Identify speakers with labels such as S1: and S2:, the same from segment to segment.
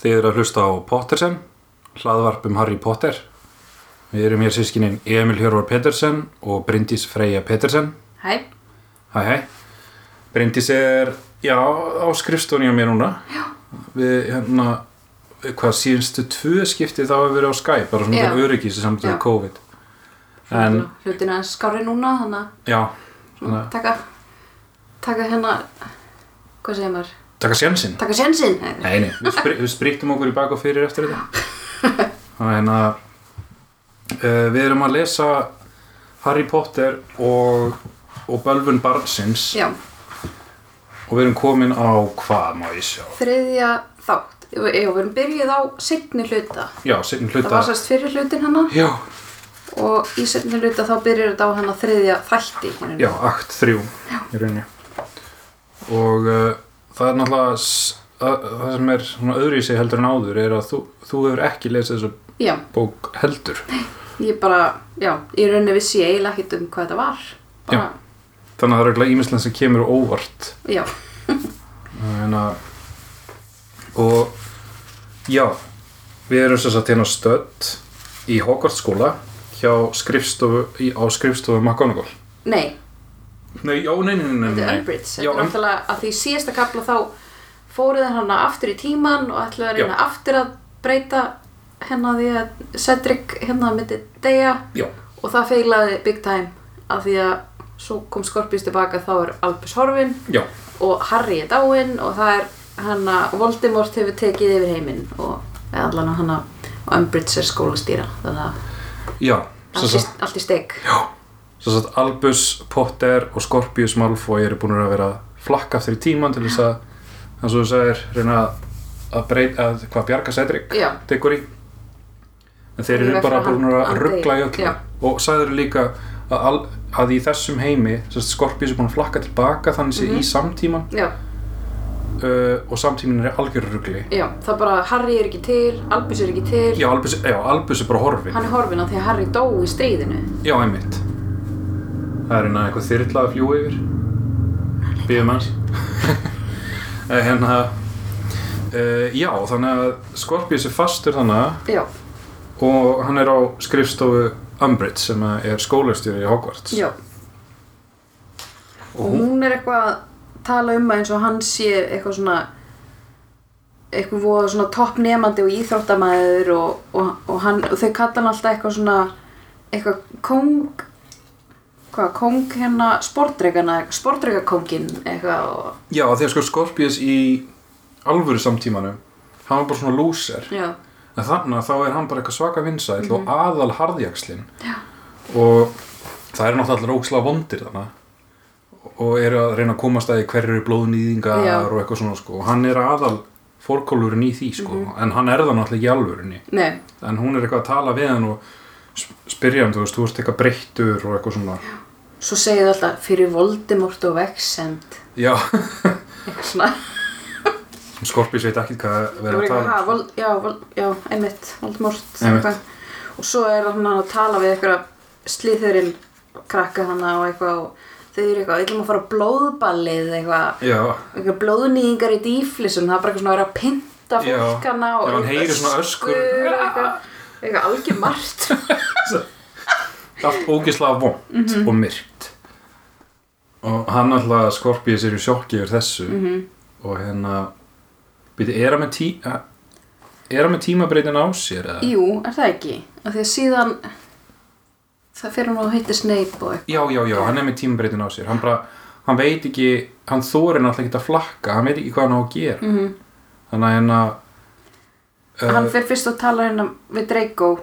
S1: Þið eru að hlusta á Pottersen, hlaðvarp um Harry Potter. Við erum hér sískinin Emil Hjörvar Petersen og Bryndís Freyja Petersen.
S2: Hæ,
S1: Hæ, hæ. Bryndís er, já, á skrifstóni á mér núna. Já. Við, hérna, hvað síðustu tvö skipti þá hefur verið á Skype, bara svona
S2: Já.
S1: fyrir öryggis í samtöðu
S2: Já.
S1: COVID. En,
S2: hlutin aðeins skári núna, þannig
S1: já,
S2: að
S1: svona,
S2: taka, taka hérna, hvað segir maður,
S1: taka sjansinn.
S2: taka sjensinn. Nei,
S1: Nei, nei, við, spri, við sprittum okkur í bak og fyrir eftir þetta Þannig að uh, við erum að lesa Harry Potter og, og Bölvun Barnsins
S2: Já,
S1: og við erum komin á hvað má ég sjá
S2: þriðja þátt, já, við erum byrjuð á setni hluta.
S1: Já, sinn
S2: Það var
S1: hluta
S2: sérst fyrir hlutin hennar
S1: Já,
S2: og í setni hluta þá byrjur þetta á hennar þriðja þætti. hérna.
S1: já, akt þrjú í rauninni og uh, það er náttúrulega s- að- það sem er svona öðru í sig heldur en áður er að þú, þú hefur ekki lesið þessu
S2: Já,
S1: bók heldur
S2: ég bara, já, í rauninni vissi ég eiginlega ekkert um hvað þetta var. Bara,
S1: þannig að það er eiginlega ímislega sem kemur á óvart
S2: já.
S1: Þannig að hérna, og já við erum sem sagt hérna stödd í Hogwarts skóla hjá skrifstofu í, á skrifstofu McGonagall
S2: Nei,
S1: Nei, já, nei, nei, nei, nei,
S2: Þetta er
S1: nei.
S2: Umbridge,
S1: Já,
S2: þetta er
S1: um-
S2: náttúrulega að því síðasta kapla þá fóruð hana aftur í tíman og ætlaði að reyna aftur að breyta hérna því að Cedric hérna myndi deyja
S1: Já,
S2: og það feilaði big time að því að svo kom Scorpius tilbaka þá er Albus horfin
S1: já,
S2: og Harry er dáinn og það er hana Voldemort hefur tekið yfir heiminn og eða allan á hana og Umbridge er skólastýra þannig að
S1: já sem
S2: allt í,
S1: sagt,
S2: allt í steik
S1: já sem sagt, Albus, Potter og Scorpius Malfoy eru búin að vera að flakka aftur í tíman til þess að þannig að þú sagðir reyna að, að breyta að hvað bjarga Cedric
S2: Já.
S1: tekur í en þeir
S2: Í
S1: eru
S2: veg
S1: bara
S2: fyrir
S1: búin
S2: hann-
S1: að
S2: hann
S1: ruggla í
S2: deyr.
S1: öllu
S2: Já.
S1: og sagður líka að, al, að í þessum heimi sérst, Scorpius er búin að flakka tilbaka þannig sé
S2: Mhm.
S1: í samtíman
S2: já,
S1: uh, og samtímin er algjör ruggli
S2: já, það bara Harry er ekki til, Albus er ekki til
S1: já Albus, já, Albus er bara horfin
S2: Hann er horfinn á því að Harry dó í stríðinu.
S1: já, einmitt það er hérna eitthvað þyrla að fljú yfir býðum hans hérna uh, já, þannig að Scorpius er fastur þannig að
S2: Já,
S1: og hann er á skrifstofu Umbridge sem að er skólastjóri í Hogwarts
S2: já. Og hún er eitthvað að tala um að eins og hann sé eitthvað svona eitthvað voða svona toppnemandi og íþróttamæður og, og, og, hann, og þau kalla hann alltaf eitthvað svona eitthvað kong hvað, kong hérna sportreikana, sportreikakongin eitthvað og,
S1: Já, því að sko Scorpius í alvöru samtímanum hann var bara svona lúser
S2: já,
S1: en þannig að þá er hann bara eitthvað svaka vinsæll
S2: Mhm.
S1: og aðal harðjakslinn og það eru náttúrulega allir ókslega vondir þannig og eru að reyna að komast að því hverju eru blóðnýðingar
S2: Já.
S1: og eitthvað svona sko og hann er aðal fórkólurinn í því sko
S2: Mhm.
S1: en hann er það náttúrulega ekki í alvörunni
S2: nei,
S1: en hún er eitthvað að tala við hann og sp- spyrja hann, þú veist, þú ert eitthvað breyttur og eitthvað svona
S2: svo segið alltaf fyrir Voldemort og Vexend
S1: Já,
S2: eitthvað svona
S1: Skorpís veit ekkert hvað
S2: Það
S1: verið
S2: var
S1: að
S2: eitthvað, ha,
S1: tala um.
S2: vol, já, vol, já, einmitt, Voldemort
S1: Einmitt.
S2: eitthvað. og svo er hann að tala við eitthvað slíðurinn krakka hann og eitthvað og þau eru eitthvað, við ætlum að fara á blóðballið eitthvað,
S1: Já,
S2: eitthvað blóðnýðingar í dýflissum, það er bara eitthvað svona að vera að pynta
S1: Já.
S2: fólk hana
S1: Já,
S2: og
S1: hann heyrir svona öskur.
S2: öskur, eitthvað, eitthvað algjör margt
S1: allt ógislega vond og myrkt og hann alltaf Skorpís er í sjokki yfir þessu og hérna byrja, er hann með tí eh, er hann með tímabreitin á sér eða?
S2: Jú, er það ekki? Af því að síðan það fer hann og heitir Snape og eitthvað
S1: Já, já, já, hann er með tímabreitin á sér hann bara, hann veit ekki hann þóri náttúrulega ekki að flakka hann veit ekki hvað hann á að gera -hmm. þannig að hérna eh,
S2: hann fer fyrst og talar hérna við Draco,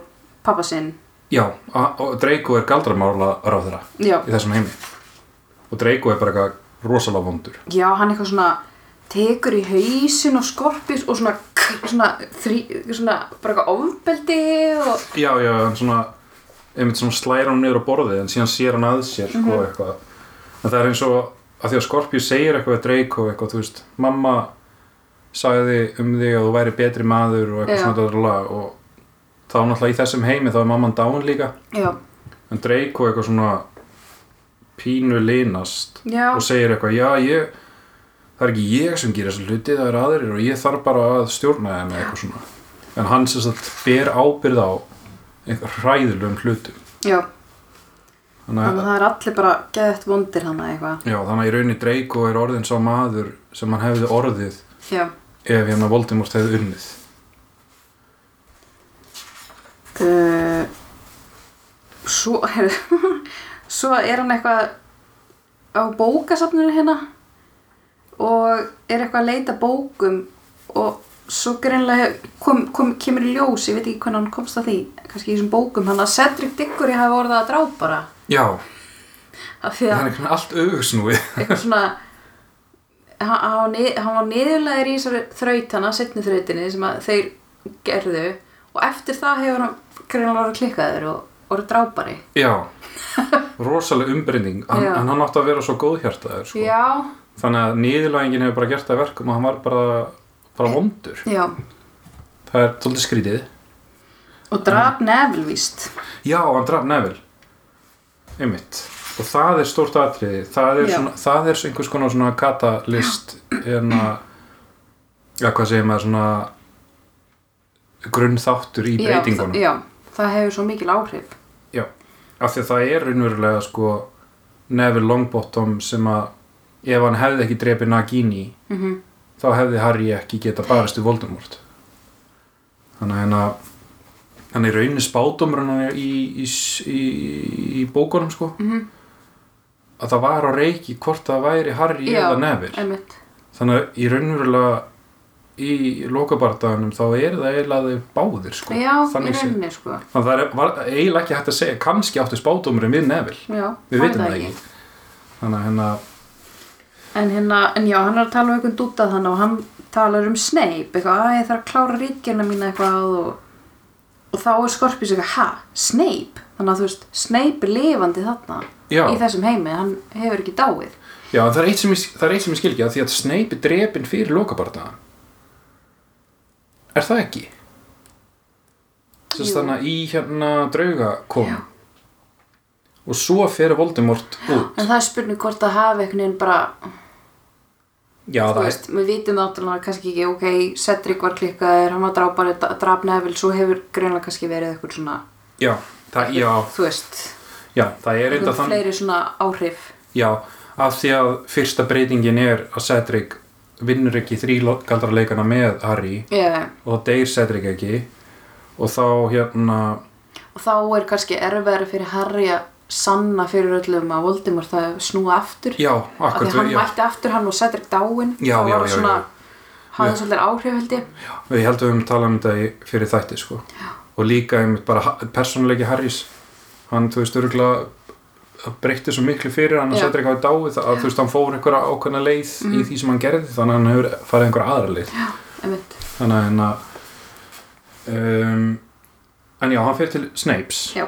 S2: pappa sinn
S1: já, a- og Dreiko er galdramála ráðra
S2: Já,
S1: í þessum heimi og Dreiko er bara eitthvað rosalega vondur
S2: Já, hann eitthvað svona tekur í hausin og skorpis og svona, k- svona, þrý, svona bara eitthvað ofbeldi og
S1: já, já, en svona einmitt svona slæra hann niður á borðið en síðan sér hann að sér, sko, eitthvað en það er eins og að því að Skorpíu segir eitthvað við Dreiko, eitthvað, þú veist, mamma sagði um þig að þú væri betri maður og eitthvað
S2: Já.
S1: svona dala, og þá náttúrulega í þessum heimi þá er mamman dáin líka,
S2: já,
S1: en Dreiko eitthvað svona pínu linast
S2: já,
S1: og segir eitthvað, já, ég það er ekki ég sem gerir þessa hluti það er aðrir og ég þarf bara að stjórna þeim eða eitthvað svona en hann sem sagt ber ábyrð á einhver hræðilegum hlutum
S2: já,
S1: þannig
S2: þannig
S1: að,
S2: að það er allir bara geðett vondir hann eitthvað
S1: já, þannig að í rauninni Draco er orðin sá maður sem hann hefði orðið
S2: já,
S1: ef hérna Voldemort hefði unnið
S2: uh, svo heyrðu, svo er hann eitthvað á bókasafninu hérna og er eitthvað að leita bókum og svo greinlega kom, kom, kemur í ljós, ég veit ekki hvernig hann komst að því kannski í þessum bókum, hann að Cedric Diggory hafi orðað að drápara
S1: já,
S2: af því
S1: það
S2: að
S1: er einhvern allt auðvugsnúið
S2: eitthvað svona hann hann var nið- hann var niðurlegaður í þessari þraut hana, setni þrautinni sem að þeir gerðu og eftir það hefur hann greinlega orðið klikkaður og orðið drápari
S1: já, rosaleg umbreyning hann,
S2: Já.
S1: en hann átti að vera svo góðhjartaður sko.
S2: já,
S1: þannig að niðurlægingin hefur bara gert það að verkum og hann var bara, bara vondur
S2: já
S1: það er tóldi skrítið
S2: og draf
S1: Mm.
S2: nefnil víst
S1: já, hann draf Neville einmitt og það er stórt atriði það er,
S2: Já.
S1: svona, það er einhvers konar svona katalist en að já, hvað segir maður svona grunnþáttur í breytingunum
S2: já, það, já, það hefur svo mikil áhrif
S1: Já, af því að það er raunverulega sko Neville Longbottom sem að ef hann hefði ekki drepið Nagini
S2: Mhm.
S1: þá hefði Harry ekki geta barist við Voldemort þannig að hérna hann er raunin spátumruna í, í, í, í bókunum sko
S2: Mhm.
S1: að það var á reiki hvort það væri Harry
S2: Já,
S1: eða Neville
S2: einmitt
S1: þannig að í raunverulega í lokabardaganum þá er það eiginlega þeir báðir sko
S2: já, í
S1: þannig séð.
S2: rauninni sko
S1: Þannig að það er, var eiginlega ekki hægt að segja, kannski átti spátumurinn við Neville,
S2: já,
S1: við
S2: það er
S1: vitum það ekki. Þannig að hérna,
S2: En, hérna, en já, hann er að tala um einhvern dútað hann og hann talar um Snape eitthvað, að ég þarf að klára ríkjana mína eitthvað og, og þá er Skorpís eitthvað, ha, Snape? Þannig að þú veist, Snape er lifandi þarna
S1: Já.
S2: í þessum heimi, hann hefur ekki dáið
S1: já það er eitt sem ég, það er eitt sem ég skilgja, því að Snape er drepinn fyrir lokabartaðan. Er það ekki? Sess
S2: Jú.
S1: þannig að í hérna drauga kom
S2: Já.
S1: og svo fer Voldemort út.
S2: En það er spurning hvort það hafi einhvern veginn bara,
S1: Já,
S2: þú
S1: það er,
S2: veist, við vitum náttúrulega kannski ekki, ok, Cedric var klikkaður, hann var drápari, draf Neville, svo hefur greinlega kannski verið eitthvað svona,
S1: já, það, já,
S2: þú veist,
S1: já, það er enda
S2: einhvern
S1: þannig.
S2: fleiri svona áhrif.
S1: Já, af því að fyrsta breytingin er að Cedric vinnur ekki þrýgaldraleikana með Harry.
S2: Yeah.
S1: og það deyr Cedric ekki og þá hérna
S2: og þá er kannski erfiðar fyrir Harry að sanna fyrir öllum að Voldemort að snúa aftur
S1: já,
S2: af því
S1: akkurat
S2: hann
S1: við, já,
S2: mætti aftur hann og Cedric dáinn
S1: Já,
S2: það
S1: já,
S2: var
S1: já,
S2: svona
S1: já.
S2: hafði svolítið áhrif held ég
S1: við heldum við höfum talað um þetta í- fyrir þætti sko og líka einmitt bara ha- persónuleiki Harrys hann þú veist örgulega breytti svo miklu fyrir hann að
S2: Já. Mhm.
S1: Cedric hafi dáið að þú veist hann fór einhverja ákveðna leið í því sem hann gerði þannig að hann hefur farið einhverja aðra leið
S2: einmitt,
S1: þannig að hérna um, en já, hann fyrir til Snapes
S2: já.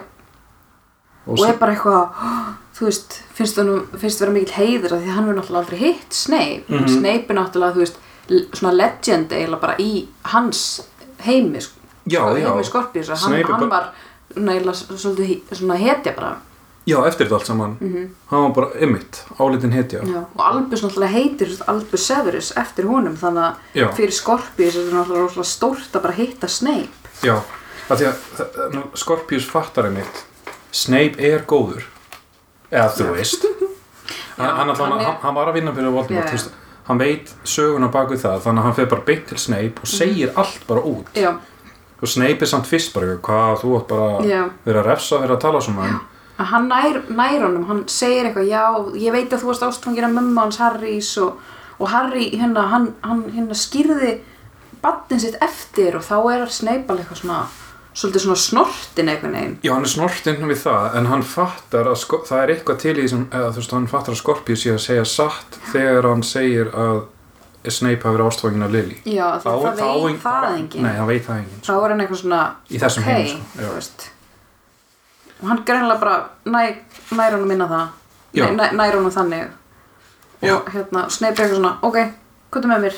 S1: og,
S2: og
S1: og
S2: er bara eitthvað "Hó, þú veist, finnst það finnst vera mikil heiður af því að hann verður náttúrulega aldrei hitt Snape
S1: Mhm.
S2: Snape er náttúrulega, þú veist, l- svona legend eiginlega bara í hans heimi sko,
S1: já, já,
S2: heimi Skorpís hann,
S1: Snape er
S2: hann
S1: bara-
S2: var svona eiginlega svolítið hi- svona hetja bara Mhm.
S1: já, eftir þetta allt saman hann var bara ymmit, álitin hetja
S2: Já, og Albus náttúrulega heitir þú veist, Albus Severus eftir honum þannig að
S1: Já.
S2: fyrir Skorpius er þetta náttúrulega rosalega stórt að bara hitta Snape
S1: Já, af því að þa- þa- Scorpius fattar einmitt Snape er góður eða þú veist hann, hann,
S2: hann
S1: hann,
S2: er-
S1: hann, hann var að vinna fyrir Voldemort
S2: Já,
S1: þú veist, hann veit söguna baku það þannig að hann fer bara beint til Snape og segir allt bara út
S2: Mhm. Já,
S1: og Snape er samt fyrst bara hvað þú átt bara
S2: Já.
S1: verið að refsa verið að tala svona um
S2: að hann nær, nær honum, hann segir eitthvað já, ég veit að þú varst ástfangir af mömmu hans Harrys og, og Harry hérna, hann, hann hérna skýrði batnin sitt eftir og þá er Snape alveg eitthvað svona svolítið svona snortin einhvern veginn
S1: Já, hann er snortinn við það, en hann fattar að sko, það er eitthvað til í þessum, eða þú veist, hann fattar að Scorpius sé að segja satt þegar hann segir að Snape hafi verið ástfangin af Lily.
S2: Já, þá, það,
S1: þá
S2: veit það enginn
S1: Nei, það veit það enginn.
S2: þá er hann eitthvað svona
S1: Í þessum
S2: ok,
S1: heimi, sko, já.
S2: þú veist og hann greinlega bara næ, nær honum inn að það
S1: Já.
S2: næ, næ, nær honum þannig og
S1: Já.
S2: hérna, Snape er eitthvað svona ok, hvað með mér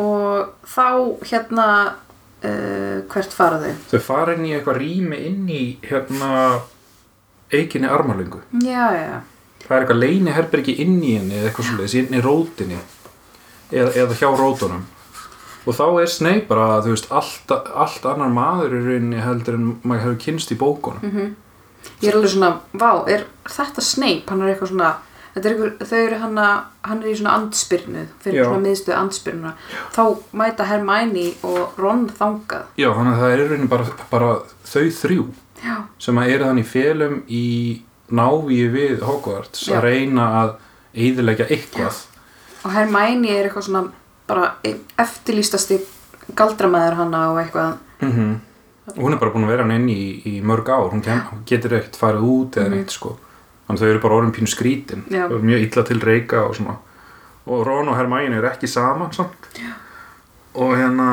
S2: og þá hérna uh, hvert fara þau
S1: Þau fara inn í eitthvað rými inn í hérna eiginni armalöngu.
S2: já, já, já
S1: það er eitthvað leyniherbergi inn í henni eða eitthvað svoleiðis, inn í rótinni eða, eða hjá rótunum og þá er Snape bara, þú veist, allt, allt annar maður í rauninni heldur en maður hefur kynst í bókunum
S2: Mhm. Ég er alveg svona, vá, er þetta Snape? Hann er eitthvað svona, þetta er eitthvað, þau eru hann að, hann er í svona andspyrnu, fyrir
S1: Já.
S2: svona miðstöð andspyrnuna. Þá mæta Hermione og Ron þangað.
S1: Já, þannig að það er í rauninni bara, bara þau þrjú
S2: Já,
S1: sem að eru þannig félum í návíu við Hogwarts
S2: Já.
S1: að reyna að eyðilegja eitthvað
S2: og Hermione er eitthvað svona, bara einn eftirlýstasti galdramæður hanna og eitthvað.
S1: mm og hún er bara búin að vera hann inn í, í mörg ár hún, kem, hún getur ekkert farið út eða neitt sko þannig að þau eru bara orðin pínu skrítin
S2: Já.
S1: þau eru mjög illa til reyka og svona og Ron og Hermione eru ekki saman samt Já. og hérna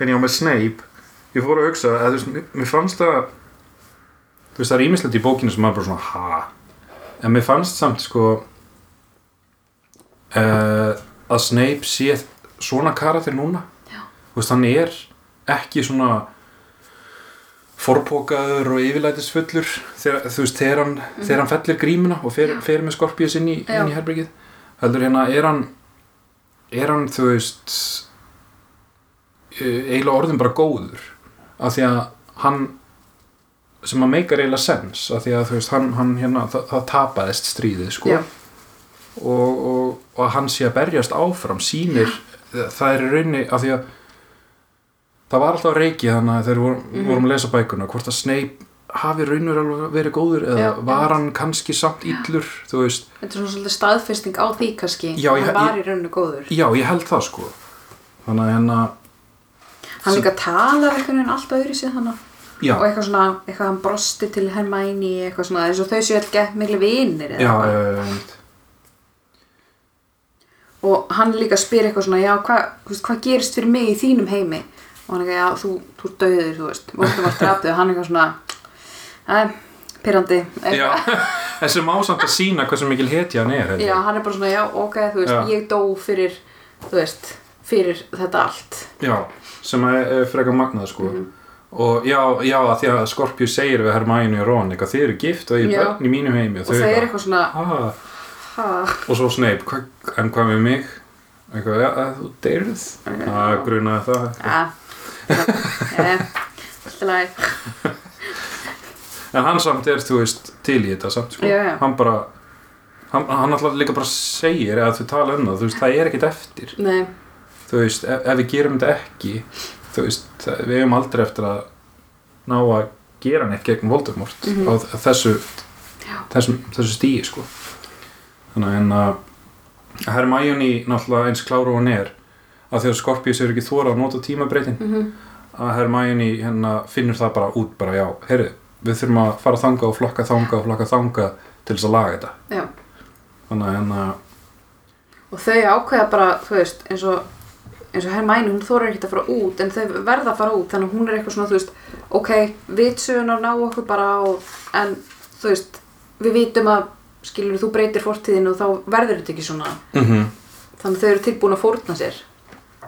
S1: hérna ég á með Snape ég fór að hugsa að þú veist, mér- mér fannst það þú veist það er ímislegt í bókinu sem maður bara svona ha en mér fannst samt sko uh, að Snape sé svona karakter núna þú veist, hann er ekki svona forpokaður og yfirlætisfullur þegar, þú veist, þegar hann, þegar hann fellir grímuna og fer, fer með Skorpíus inn í,
S2: Mhm. Já.
S1: inn í herbergið heldur hérna, er hann er hann, þú veist eh, eiginlega orðin bara góður af því að hann sem að meikar eiginlega sens af því að þú veist, hann, hann hérna það, það tapaðist stríðið, sko
S2: Já,
S1: og, og, og að hann sé að berjast áfram sýnir, það er í raunni af því að það var alltaf reiki þannig að þeir vorum,
S2: Mhm.
S1: vorum að lesa bækuna hvort að Snape hafi raunur alveg verið góður eða
S2: Já,
S1: var hann kannski samt illur, þú veist,
S2: þetta er svona svolítið staðfesting á því kannski.
S1: Já, ég-
S2: hann var
S1: ég-
S2: í rauninu góður.
S1: já ég held það sko þannig að hérna
S2: Hann líka talar einhvern veginn allt öðru sér þannig.
S1: já,
S2: og eitthvað svona, eitthvað hann brosti til Hermæni eitthvað svona, eins og þau séu alltaf miklu vinir eða
S1: já,
S2: eitthvað.
S1: já,
S2: og hann líka spyr eitthvað svona já, hvað hva, hva gerist fyrir mig í þínum heimi og hann eitthvað, já, þú, þú ert dauður þú veist, vóttum að drafðu, hann eitthvað svona eh, pyrrandi
S1: já, já. en sem ásamt að sína hversu mikil hetja hann er held ég.
S2: já, hann er bara svona, já, ok, þú
S1: Já.
S2: veist ég dó fyrir, þú veist fyrir þetta allt
S1: Já, sem er, er frekar magnað sko og já, já, að því að Skorpjú segir við Hermæni og Ron eitthvað, þið eru gift og ég
S2: Já.
S1: er bönn í mínum heimi
S2: og þau eru eitthvað svona,
S1: ah,
S2: ha
S1: og svo Snape, hva, en hvað með mig? eitthvað, já, að þú deyrð að grunaði það
S2: eh, eh, allt í lagi
S1: en hann samt er, þú veist, til í þetta samt sko,
S2: Já, já.
S1: hann bara hann, hann alltaf líka bara segir að þau tala um það, þú veist, það er ekkert eftir
S2: nei,
S1: þú veist, ef, ef við gerum þetta ekki þú veist, það- við hefum aldrei eftir að ná að gera neitt gegn Voldemort
S2: Mhm.
S1: á þ- þessu þessum, þessu stíi sko þannig en að Hermione náttúrulega eins klára og hún er að því að Skorpíus hefur ekki þóra að nota tímabreitin
S2: mhm
S1: að Hermione hérna finnur það bara út bara já, heyrðu, við þurfum að fara þanga og flokka þanga og flokka þanga til þess að laga þetta
S2: Já.
S1: þannig en að hérna,
S2: og þau ákveða bara, þú veist, eins og eins og Hermæni, hún þorir ekkert að fara út en þau verða að fara út, þannig að hún er eitthvað svona, þú veist ok, vitsugunar ná okkur bara og, en, þú veist við vitum að, skilur, þú breytir fortíðinu og þá verður þetta ekki svona
S1: mm
S2: þannig að þau eru tilbúin að fórna sér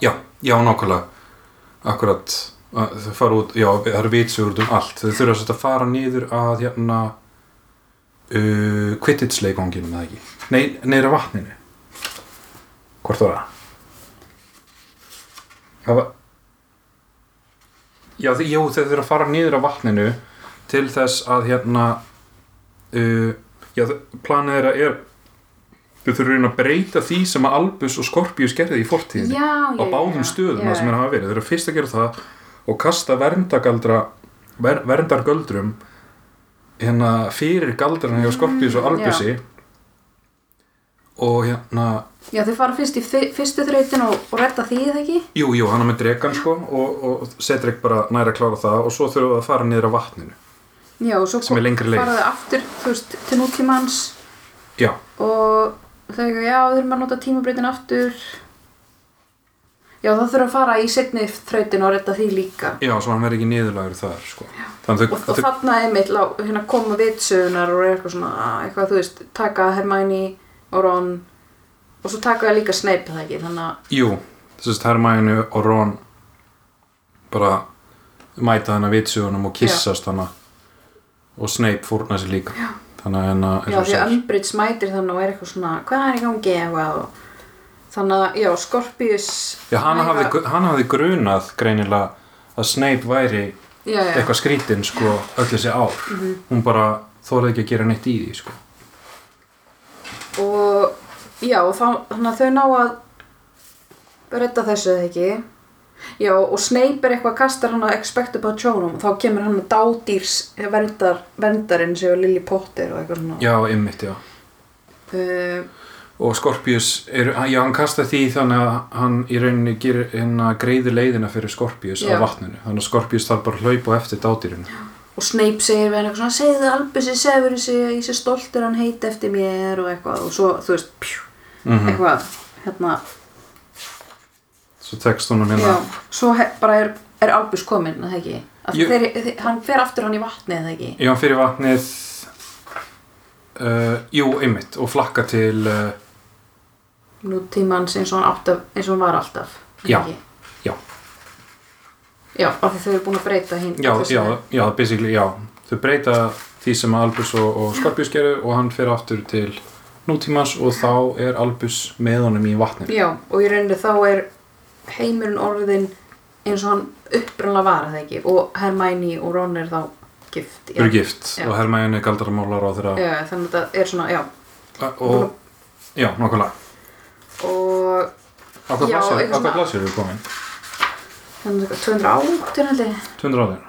S1: Já, já, nákvæmlega Akkurat að Þau fara út, já, það eru vitsugur út um allt Þau þurfa svolítið að fara niður að hérna uh, Kvittitsleikonginu með ekki Nei, neyra vatninu Hvort var það? Það var Já, þau- jú, þau þurfa að fara niður að vatninu til þess að hérna uh, já, þau- planið þeirra er þau þurfa að reyna að breyta því sem að Albus og Skorpíus gerði í fortíðinni
S2: já,
S1: á báðum stöðum það sem er að hafa verið þeir eru fyrst að gera það og kasta verndagaldra ver, verndargöldrum hérna fyrir galdrana hjá Skorpíus
S2: Mm,
S1: og Albusi og hérna
S2: já, þau fara fyrst í fi- fyrstu þrautin og, og retta því eða ekki
S1: jú, jú, hann er með dregan sko og, og setur ekki bara næra að klára það og svo þurfum við að fara niður á vatninu
S2: já, og svo
S1: Sem er lengri leið.
S2: fara þau aftur, þú veist, til nútímans
S1: já,
S2: og þau ekki, já, við þurfum að nota tímabreytin aftur já, það þurfum að fara í setni þrautin og retta því líka
S1: já, svo hann verður ekki niðurlagur þar sko
S2: og,
S1: þannig að þau,
S2: og
S1: að þau
S2: þarna einmitt lá, hérna koma vitsugunar og er eitthvað svona, ah, eitthvað, þú veist taka Hermæni og Ron og svo taka þau líka Snape það ekki þannig að,
S1: jú, þessist Hermæni og Ron bara mæta hana vitsugunum og kissast hana og Snape fórna sér líka þannig að hérna
S2: Já,
S1: eins
S2: því
S1: og
S2: að
S1: segir-
S2: Umbridge mætir þannig og er eitthvað svona, hvað er í gangi eitthvað og þannig að, já, Scorpius
S1: já, hann
S2: Mæra-
S1: hafði, hann hafði grunað greinilega að Snape væri
S2: já, Mhm. já.
S1: eitthvað skrítinn sko öll þessi ár hún bara þólaði ekki að gera neitt í því sko
S2: og, já, og þá, þannig að þau ná að redda þessu eða ekki já, og Snape er eitthvað kastar hann að expect about Jorum og þá kemur hann að dádýrs eh, verndar, verndarinn sem er Lily Potter og eitthvað svona
S1: já, ymmit, já
S2: uh,
S1: og Scorpius, er, hann- já hann kastar því þannig að hann í rauninni gerir hérna greiði leiðina fyrir Scorpius
S2: Já.
S1: á vatninu, þannig að Scorpius þarf bara að hlaupa á eftir dátýrinu
S2: og Snape segir við hann eitthvað svona segðu Albusi Severus ég ég sé stoltur hann heiti eftir mér og eitthvað og svo, þú veist, pjú,
S1: mm
S2: eitthvað hérna,
S1: svo tekst honum hérna
S2: Já, svo he- bara er, er Albus kominn, er það ekki? Af því
S1: Jú.
S2: Þeir, þeir, hann fer aftur hann í vatnið, er það ekki?
S1: Já, hann fyrir vatnið uh, Jú, einmitt og flakka til uh,
S2: Nú tímans eins og hann, áttaf, eins og hann var alltaf, er það
S1: Já,
S2: ekki?
S1: já.
S2: Já, af því þau eru búin að breyta hinn.
S1: já,
S2: þessu.
S1: já, já, basically, já þau breyta því sem að Albus og, og Scorpius gerir og hann fer aftur til nútímans og þá er Albus með honum í vatninu
S2: Já, og í rauninni þá er heimurinn orðin eins og hann upprannlega var, er það ekki? Og Hermæni og Ron er þá gift.
S1: eru gift
S2: Já.
S1: og Hermæni galdramálar á þeirra
S2: Já, þannig að þetta er svona, já.
S1: og, já, nokkulega
S2: Og
S1: á hvað
S2: Já,
S1: blasir,
S2: eitthvað
S1: á hvað
S2: svona-
S1: blasir eru komin?
S2: þannig að 208 held ég.
S1: 200 áður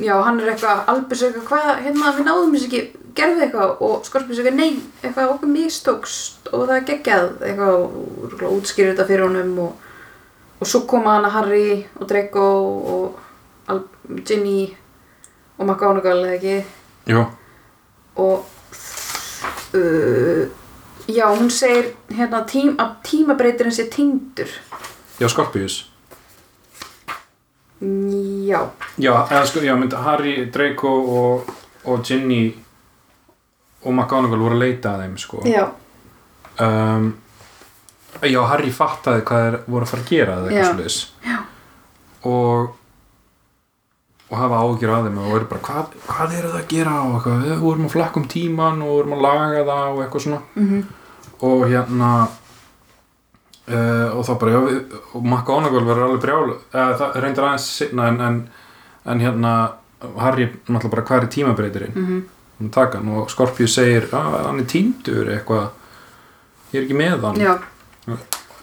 S2: Já, hann er eitthvað, Albus er eitthvað, hvað, hérna, við náðum þessu ekki, gerðu eitthvað og Skorpus er eitthvað, nei, eitthvað, okkur mistókst og það er geggjað, eitthvað, og örugglega útskýrir þetta fyrir honum og, og svo koma hann að Harry og Draco og Al Ginny og McGonagall, eða ekki,
S1: Jú,
S2: og, uh, já, hún segir, hérna, tím, að tímabreytirinn sé týndur,
S1: já, Scorpius
S2: Mm, já,
S1: Já, eða sko, já, mynd Harry, Draco og, og Ginny og McGonagall voru að leita að þeim, sko
S2: já,
S1: um, Já, Harry fattaði hvað þeir voru að fara að gera eða
S2: Já.
S1: eitthvað sliðis og og hafa ágjur að þeim og verið bara hvað, hvað eru það að gera og eitthvað við vorum að flakka um tíman og vorum að laga það og eitthvað svona
S2: mhm,
S1: og hérna uh, og þá bara já, við, og McGonagall verður alveg brjál uh, það reyndir aðeins sinna en, en, en hérna Harry náttúrulega bara hvað er tímabreytirinn
S2: mhm,
S1: hún taka hann og Skorpíu segir að hann er týndur eitthvað ég er ekki með hann
S2: já.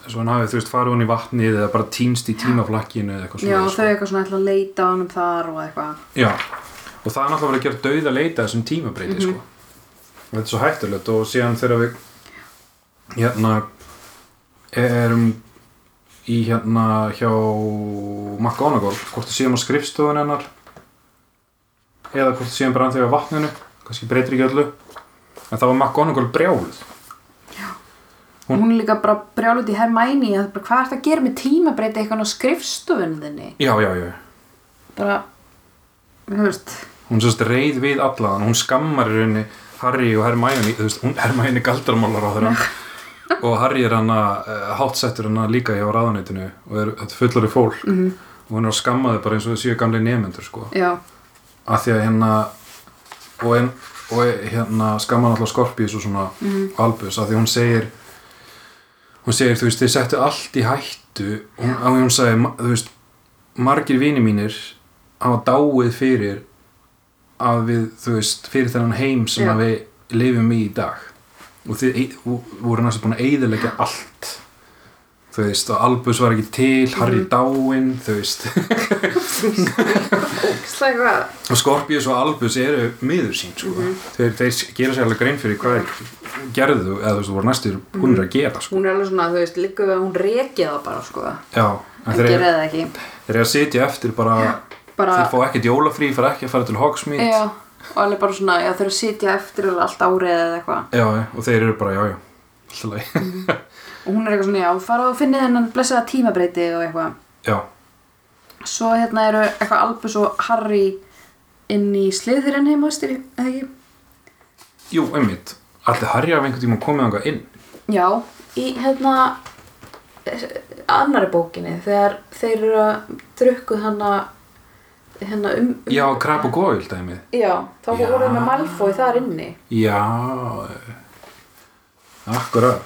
S1: svo hann hafi þú veist farið hún í vatnið eða bara týnst í tímaflakkinu eða eitthvað
S2: Já,
S1: svona
S2: og þau eitthvað svona ætla að leita á hann þar og eitthvað.
S1: Já, og það er náttúrulega verið að gera dauða leita að þessum tímabreyti
S2: Mhm.
S1: sko. og þetta er svo hættulegt og síðan þegar við hérna erum í hérna hjá McGonagall, hvort það séum á skrifstofun hennar eða hvort það séum bara anþegar á vatninu kannski breytir ekki öllu en það var McGonagall brjáluð Hún-
S2: Hún, er líka bara brjálut í Hermæni að bara, hvað ertu að gera með tímabreyti eitthvað á skrifstofunni þinni?
S1: já, já, já,
S2: Bara, þú veist,
S1: hún sérst reyð við alla hann, hún skammar í rauninni Harry og Hermione, þú veist, hún Hermione galdramálar á þeirra og Harry er hann að hátsettur hann að líka hjá ráðaneytinu og er þetta fullari fólk
S2: Mhm.
S1: og hún er að skamma þau bara eins og þau séu gamli nefnendur sko,
S2: já,
S1: af því að hérna og, en, og hérna skamma hann alltaf Skorpíus og svona Albus, af því hún segir hún segir, þú veist, þið settu allt í hættu hún, á því hún sagði, ma- þú veist margir vini mínir hafa dáið fyrir að við, þú veist, fyrir þennan heim sem
S2: Já.
S1: að við lifum í í dag og þið ey- og voru næstu búin að eyðilegja allt þú veist, og Albus var ekki til Harry mm dáinn, þú veist
S2: ógislega eitthvað.
S1: og Scorpius og Albus eru miður sín sko.
S2: Mhm.
S1: þeir, þeir gera sér alveg grein fyrir hvað þeir gerðu eða þú veist, þú voru næstur húnir
S2: Mhm.
S1: að gera sko.
S2: Hún er alveg svona, þú veist, líka við að hún rekja það bara, sko.
S1: já, en
S2: En
S1: þeir,
S2: gera það ekki.
S1: þeir eru að sitja eftir bara,
S2: Bara,
S1: þeir fá ekkert jólafrí fara ekki að fara til Hogsmeade
S2: já, og alveg bara svona, já, þau eru að sitja eftir alveg allt árið eða eitthvað.
S1: Já, og þeir eru bara, já, já alltaf leið,
S2: Mhm. Og hún er eitthvað svona, já, fara og finni þennan blessaða tímabreyti og eitthvað.
S1: já,
S2: Svo hérna eru eitthvað Albus og Harry inn í sliðurinn heima, veist þér, eða ekki?
S1: jú, einmitt allir Harry af einhvern tíma komið þangað inn
S2: Já, í hérna annari bókinni þegar þeir eru að drukkuð hana hérna um, um
S1: Já, krab og góil dæmið
S2: já, þá
S1: Já.
S2: voru við með Malfoy þar inni
S1: Já eh, Akkurat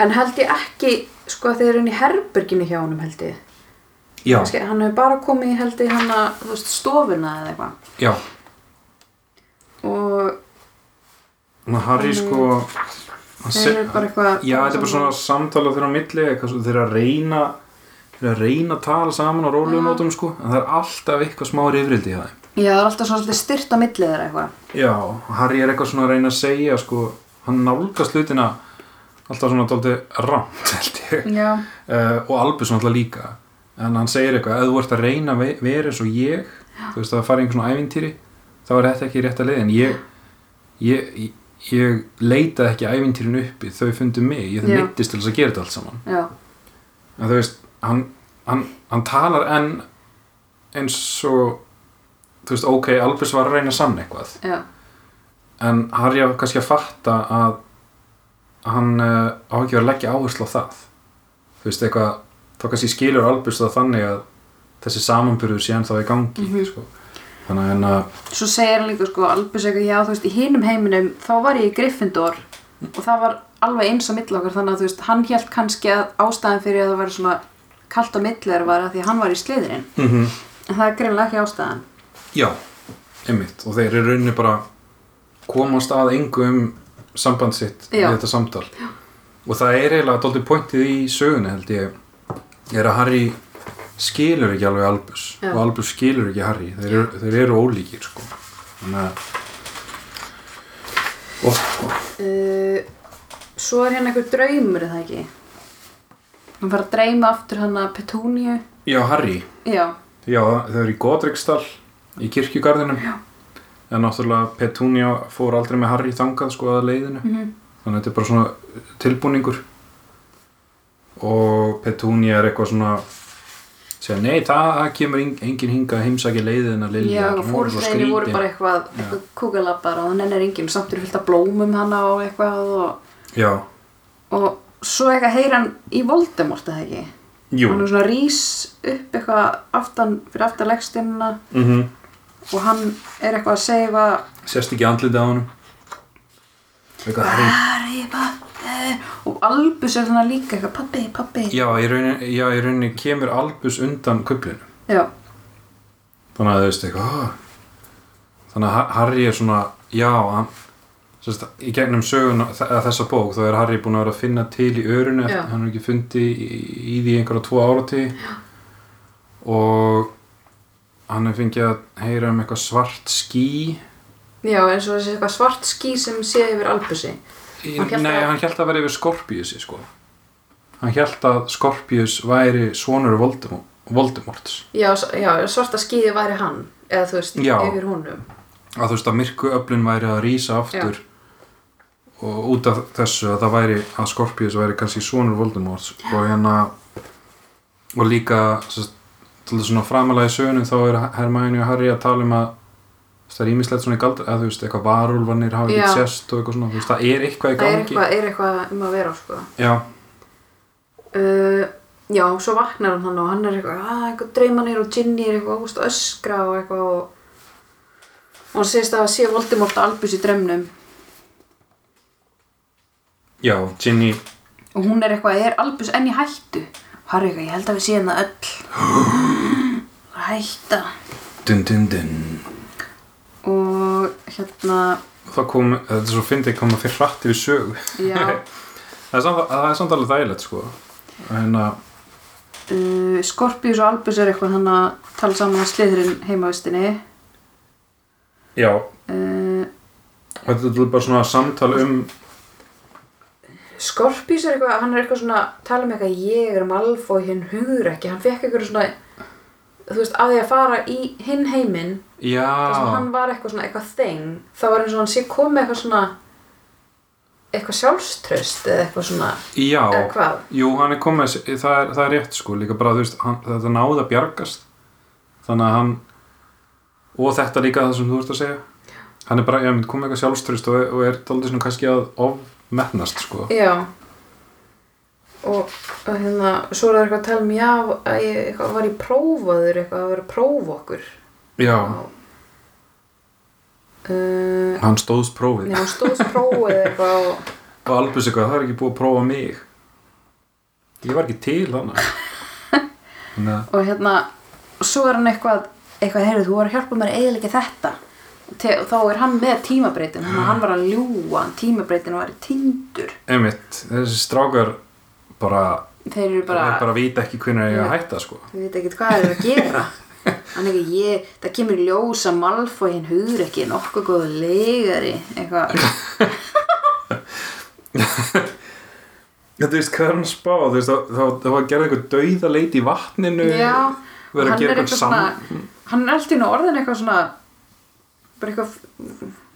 S2: en held ég ekki sko að þeir eru inn í herberginu hjá honum held ég
S1: Já,
S2: Kannski, hann hefur bara komið í held ég hann að þú veist stofuna eða eitthvað
S1: já
S2: og
S1: Ná, Harry sko hann
S2: Mhm. þeir eru
S1: se-
S2: bara eitthvað
S1: Já, þetta er bara svona samtala þeirra á milli eitthvað svo- þeir eru að reyna þeir eru að reyna að tala saman á rólegum nótum sko en það er alltaf eitthvað smá rifrildi í það
S2: já, það er alltaf svona svolítið styrt á millið þeirra eitthvað
S1: Já, Harry er eitthvað svona að reyna að segja sko, hann nálgast hlutina alltaf svona dálítið rámt held ég
S2: já,
S1: uh, og Albus náttúrulega líka en hann segir eitthvað, ef þú ert að reyna að ve- vera eins og ég, þú veist að fara í einhver svona ævintýri, þá er þetta ekki rétt að leiðin ég, ég, ég ég leitaði ekki ævintýrin uppi þau fundu mig, ég
S2: Já.
S1: mittist til þess að gera þetta allt saman
S2: já,
S1: en þú veist, hann, hann, hann talar enn eins og þú veist, ok, Albus var að reyna að sanna eitthvað
S2: já,
S1: en Harry á kannski að fatta að hann uh, á ekki að leggja áherslu á það þú veist eitthvað þá kannski skilur Albus það þannig að þessi samanbyrður sé ennþá í gangi sko. þannig að hérna,
S2: svo segir hann líka sko Albus eitthvað, já, þú veist, í hinum heiminum þá var ég í Gryffindor og það var alveg eins á milli okkar þannig að þú veist, hann held kannski að ástæðan fyrir að það var svona kalt á milli þeirra var að því að hann var í sliðurinn
S1: Mhm.
S2: en það er greinlega ekki ástæðan
S1: já, einmitt og þeir eru í rauninni bara komast að engu um samband sitt
S2: Já.
S1: við þetta samtal já. og það er eiginlega dóltið pointið í sögunni held ég er að Harry skilur ekki alveg Albus
S2: Já.
S1: og Albus skilur ekki Harry þeir eru, þeir eru ólíkir sko. þannig að og,
S2: uh, svo er hérna einhver draumur er það ekki hann fara að dreyma aftur hann að Petúníu
S1: já, Harry
S2: já,
S1: já, þau eru í Godrikstall í kirkjugarðinum já. en náttúrulega Petunia fór aldrei með Harry þangað sko að leiðinu
S2: Mhm.
S1: þannig að þetta er bara svona uh, tilbúningur og Petunia er eitthvað svona segja, nei, það það kemur eng- engin hinga heimsæki leiðina Lilja
S2: já
S1: hún
S2: og
S1: var svo
S2: fórstæðinni voru
S1: skrýtin."
S2: bara eitthvað, eitthvað kúkalabbar og hann er enginn samt eru fyllt af blómum hann á eitthvað og,
S1: já,
S2: og svo eitthvað heyr hann í Voldemort er það ekki
S1: jú
S2: hann er svona rís upp eitthvað aftan, fyrir aftan leggstinnuna
S1: mm
S2: og hann er eitthvað að segja eitthvað,
S1: sérst ekki andlitið á honum eitthvað
S2: Ah.
S1: Harry
S2: Harry Potter og Albus er þannig líka eitthvað pappi, pappi
S1: já, í rauninni, já, í rauninni kemur Albus undan kuplinu
S2: já,
S1: þannig að þú veist eitthvað "Ah." þannig að Ha- Harry er svona já, hann sérst, í gegnum söguna þ- eða þessa bók þá er Harry búin að vera að finna til í örunu
S2: Já.
S1: hann er ekki fundið í, í því einhverja tvo árati og hann er fengið að heyra um eitthvað svart ský
S2: já eins og þessi eitthvað svart ský sem sé yfir Albusi
S1: Í-
S2: Hann hélt
S1: nei,
S2: að-
S1: hann held að vera yfir Skorpíusi sko. hann held að Skorpíus væri svonur Voldemort, Voldemorts
S2: já, s- já, svarta skýði væri hann eða þú veist,
S1: Já.
S2: yfir honum
S1: að þú veist að myrkuöflin væri að rýsa aftur og út af þessu að það væri að Skorpíus væri kannski sonur Voldemort og hérna og líka sem sagt, til þess að framalega í sögunum þá er Hermæni og Harry að tala um að það er ímislegt svona í galdra eða þú veist eitthvað varúlfanir hafi
S2: Já.
S1: ekki sérst og eitthvað svona þú veist það er eitthvað í
S2: það er
S1: gangi
S2: eitthvað, er eitthvað um að vera sko
S1: já,
S2: uh, já, svo vaknar hann þannig og hann er eitthvað, að eitthvað dreymanir og Ginny er eitthvað, úst, öskra og eitthvað og, og hann segist að sé Voldemort og Albus í drömmnum
S1: já, Ginny
S2: og hún er eitthvað, er Albus enn í hættu og Harry eitthvað, ég held að við séum það öll Það er að hætta
S1: dun dun dun
S2: og hérna
S1: það kom, eh, þetta er svo fyndið koma fyrir hratt yfir sögu
S2: já,
S1: það er samt- það er samt alveg þægilegt sko en að
S2: uh, Skorpíus og Albus er eitthvað þannig að tala saman á sliðurinn heimavistinni
S1: já,
S2: uh,
S1: Þetta er bara svona samtal um
S2: Skorpís er eitthvað, hann er eitthvað svona tala um eitthvað ég er Malfoy hinn hugur ekki hann fekk eitthvað svona þú veist, að því að fara í hinn heiminn þar sem
S1: Já,
S2: hann var eitthvað svona eitthvað þeng þá var eins og hann sé komið eitthvað svona eitthvað sjálfströst eða eitthvað svona,
S1: já
S2: eða hvað
S1: Jú, hann er komið, það er, það er rétt sko líka bara, þú veist, hann, þetta náði að bjargast þannig að hann og þetta líka það sem þú ert að segja hann er bara, ég mynd, komið eitthvað sjálfströst og, og er daldið svona kannski að ofmetnast sko
S2: já og, og hérna, svo er það eitthvað að tala um já, að ég eitthvað, var í prófaður eitthvað að vera að prófa okkur
S1: já,
S2: uh,
S1: hann stóðst prófið
S2: Já, hann stóðst prófið eitthvað og...
S1: og Albus eitthvað, það er ekki búið að prófa mig ég var ekki til þannig þannig að
S2: og hérna, og svo er hann eitthvað eitthvað, heyrðu, þú var að hjálpa mér að eiginlega þetta og te- og þá er hann með tímabreitin þannig að hann var að ljúga, tímabreitin var tindur,
S1: einmitt, þessi strákar bara,
S2: þeir eru bara,
S1: bara, bara vita ekki hvernig ég að
S2: Nei.
S1: hætta sko
S2: við veit ekkert hvað þeir eru að gera hann ekki, ég, það kemur í ljós að Malfoy hinn hugur ekki nokkuð góð leigari, eitthvað
S1: Já, þú veist, hvað er hann að spá? Þú veist, þá- þá þá var að gera eitthvað dauða leit í vatninu
S2: já, og
S1: vera að
S2: hann
S1: gera
S2: er
S1: eitthvað
S2: eitthvað
S1: saman
S2: svona hann er alltaf í einu orðin eitthvað svona bara eitthvað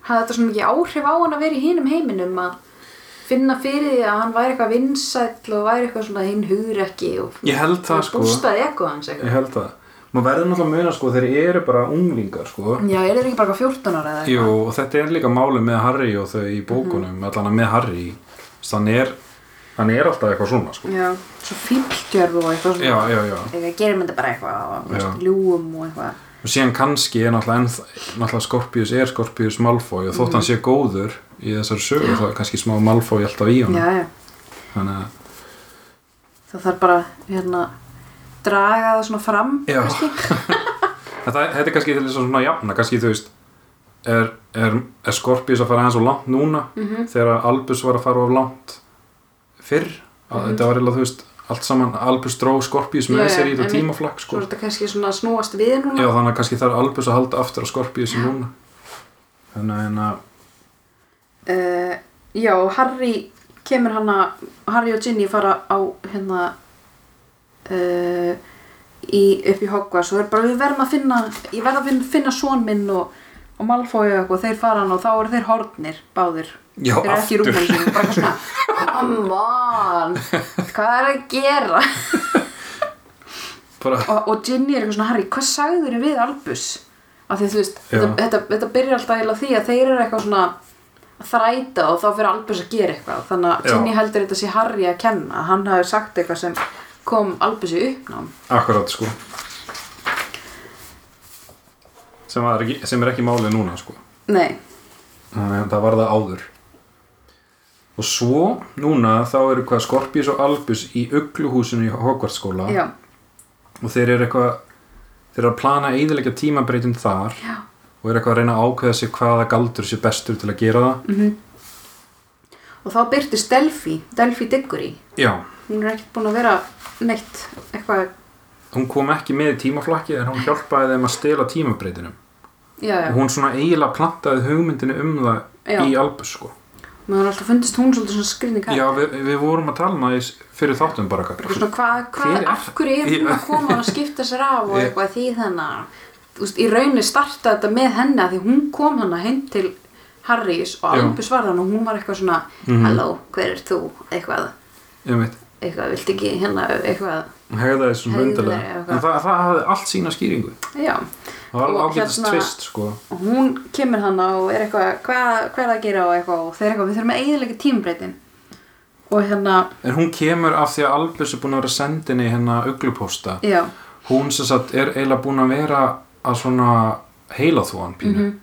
S2: hafði þetta svona mikið áhrif á hann að vera í hinum heiminum að finna fyrir því að hann væri eitthvað vinsæll og væri eitthvað svona hinn hugur ekki og
S1: Ég held það, sko.
S2: bústaði eitthvað hans eitthvað
S1: Ég held það Maður verður náttúrulega að muna, sko, þeir eru bara unglingar, sko
S2: já, er þeir ekki bara eitthvað 14 ára eða
S1: Jú,
S2: eitthvað
S1: og þetta er líka máli með Harry og þau í bókunum,
S2: Mhm.
S1: allan að með Harry Þess, hann er, hann er alltaf eitthvað svona, sko
S2: já, svo fíltjörf og eitthvað
S1: Já,
S2: svona
S1: já, já
S2: eitthvað gerum þetta bara eitthvað og
S1: Já.
S2: veist, ljúum og eitthvað
S1: Og síðan kannski er náttúrulega, ennþ- náttúrulega Scorpius er Scorpius Malfoy og þótt
S2: Mm.
S1: hann sé góður í þessari sögu, þá er kannski smá Malfoy alltaf í honum
S2: já, já,
S1: Þannig að,
S2: það þarf bara hérna draga það svona fram
S1: já
S2: kannski.
S1: Þetta, þetta er kannski til þess að svona jafna, kannski þú veist er, er, er Scorpius að fara aðeins og langt núna þegar Albus var að fara of langt fyrr, mm þetta var eiginlega þú veist allt saman, Albus dró Scorpius með
S2: Mhm. Já, já,
S1: sér í þetta
S2: einmitt.
S1: tímaflakk sko
S2: svo er þetta kannski svona snúast við núna
S1: Já, þannig að kannski þarf Albus að halda aftur á Scorpius núna Þannig að hérna,
S2: uh, já, og Harry kemur hann að Harry og Ginny fara á hérna uh, í, upp í Hogwarts og er bara við verðum að finna ég verð að finna, finna son minn og, og Malfoy og eitthvað, þeir fara hann og þá eru þeir hornir báðir
S1: Já,
S2: þeir
S1: aftur.
S2: eru ekki í rúmum sínum, bara eitthvað svona come on, hvað er að gera
S1: bara
S2: og, og Ginny er eitthvað svona Harry, hvað sagður við Albus af því að þú veist,
S1: Já.
S2: þetta, þetta, þetta byrjar alltaf eiginlega á því að þeir eru eitthvað svona að þræta og þá fyrir Albus að gera eitthvað þannig að
S1: Já.
S2: Ginny heldur þetta sé Harry að kenna að hann hafi sagt eitthvað sem kom Albus í uppnám
S1: akkurat sko sem, var ekki, sem er ekki málið núna sko
S2: nei,
S1: Þannig að það var það áður og svo núna þá eru hvað Skorpís og Albus í ugluhúsinu í Hogwarts skóla
S2: já,
S1: og þeir eru eitthvað þeir eru að plana eðilega tímabreitin þar
S2: já,
S1: og eru eitthvað að reyna að ákveða sig hvaða galdur sé bestur til að gera það
S2: Mhm. og þá byrtist Delphi Delphi Diggory,
S1: já,
S2: hún er ekkert búin að vera neitt eitthvað,
S1: hún kom ekki með í tímaflakki en hún hjálpaði þeim að stela tímabreitinum
S2: já, já
S1: og hún svona eiginlega plantaði hugmyndinu um það
S2: Já.
S1: í Albus sko
S2: maður er alltaf fundist hún svolítið svona skrinni
S1: já, við, við vorum að tala um með fyrir þáttum bara
S2: Eitthvað svona, hvað,
S1: Hver
S2: hvað,
S1: er-
S2: af hverju er hún að koma og skipta sér af og
S1: Já.
S2: eitthvað því þannig þú veist, í rauninni starta þetta með henni að því hún kom hana heim til Harrys og
S1: Já. Mhm.
S2: Albus var hann og hún var eitthvað svona halló, hver er þú, eitthvað
S1: ég veit
S2: eitthvað, vilt ekki hérna, eitthvað
S1: hegðaði svona
S2: Hegðaði
S1: undarlega
S2: eða
S1: en
S2: eitthvað.
S1: það, það hafði allt sína skýringu
S2: já,
S1: það var
S2: Og
S1: ágætast
S2: hérna-
S1: tvist sko
S2: og hún kemur hana og er eitthvað, hvað, hvað er það að gera og eitthvað og þeir eitthvað, við þurfum að eiginlega tímbreytin og hérna,
S1: en hún kemur af því að Albus er búin að vera sendin í hennar uglupósta
S2: já
S1: hún sem sagt er eiginlega búin að vera að svona heila þú hann pínu
S2: Mhm.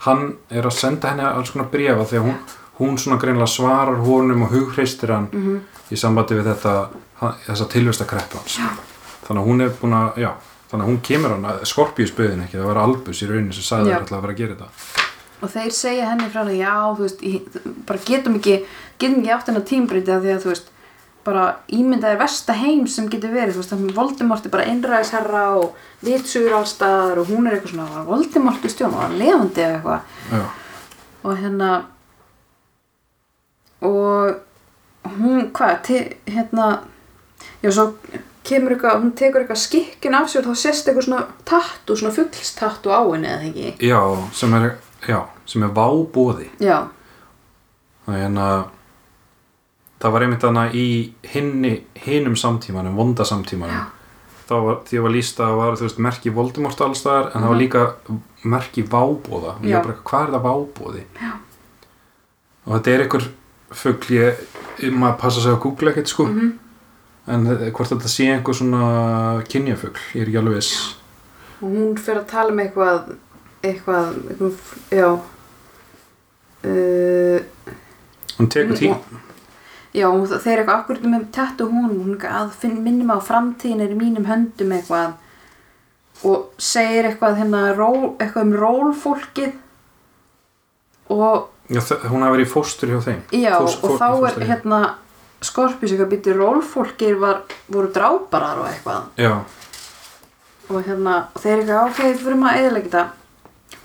S1: hann er að senda henni alls konar brefa því að hún, hún svona greinlega svarar honum og hugreistir hann
S2: Mhm.
S1: -hmm. í sambandi við þetta hann- þessa tilvistakreppu hans
S2: Já.
S1: þannig að hún er búin að já, þannig að hún kemur hann, Skorpíus bauðin ekki það var Albus í raunin sem sagði
S2: Já.
S1: hann alltaf að vera að gera þetta
S2: og þeir segja henni frá því já, þú veist, í, bara getum ekki getum ekki átt hennar tímbreyti af því að þú veist bara ímyndað er versta heim sem getur verið, þú veist, þannig Voldemort er bara einræðisherra og vitsugur allstaðar og hún er eitthvað svona, var Voldemort í stjón og hann levandi eða eitthvað
S1: já,
S2: og hérna og hún, hvað, te, hérna já, svo kemur eitthvað, hún tekur eitthvað skikkin af sér og þá sést eitthvað svona tattu, svona fuglstattu á henni eða ekki,
S1: já, sem er, já, sem er vábóði
S2: já
S1: Þannig hérna það var einmitt hana í hinni, hinum samtímanum, vonda samtímanum þá var, því að var líst að það var þú veist, merki Voldemort allstaðar en það var líka merki vábóða og ég
S2: Mhm. Já.
S1: var bara, hvað er það vábóði? Já. og þetta er einhver fugl ég, maður passa sig að googla ekkert sko
S2: Mhm.
S1: eh, en hvort þetta sé einhver svona kynjafugl, ég er ekki alveg viss
S2: og hún fer að tala um eitthvað eitthvað, eitthvað já uh,
S1: Hún tekur tí
S2: Mm, já, hún- þeir eru eitthvað akkur með tett og hún, hún er eitthvað að finn, minnum á framtíðin er í mínum höndum eitthvað og segir eitthvað hérna ról, eitthvað um rólfólkið og
S1: Já, þ- hún hafi verið í fóstur hjá þeim
S2: já,
S1: Fós- fó-
S2: og þá er
S1: fóstur.
S2: hérna skorpis eitthvað býtti rólfólkið var, voru dráparar og eitthvað
S1: Já,
S2: og hérna, og þeir eru eitthvað ok, við fyrir maður að eðalega þetta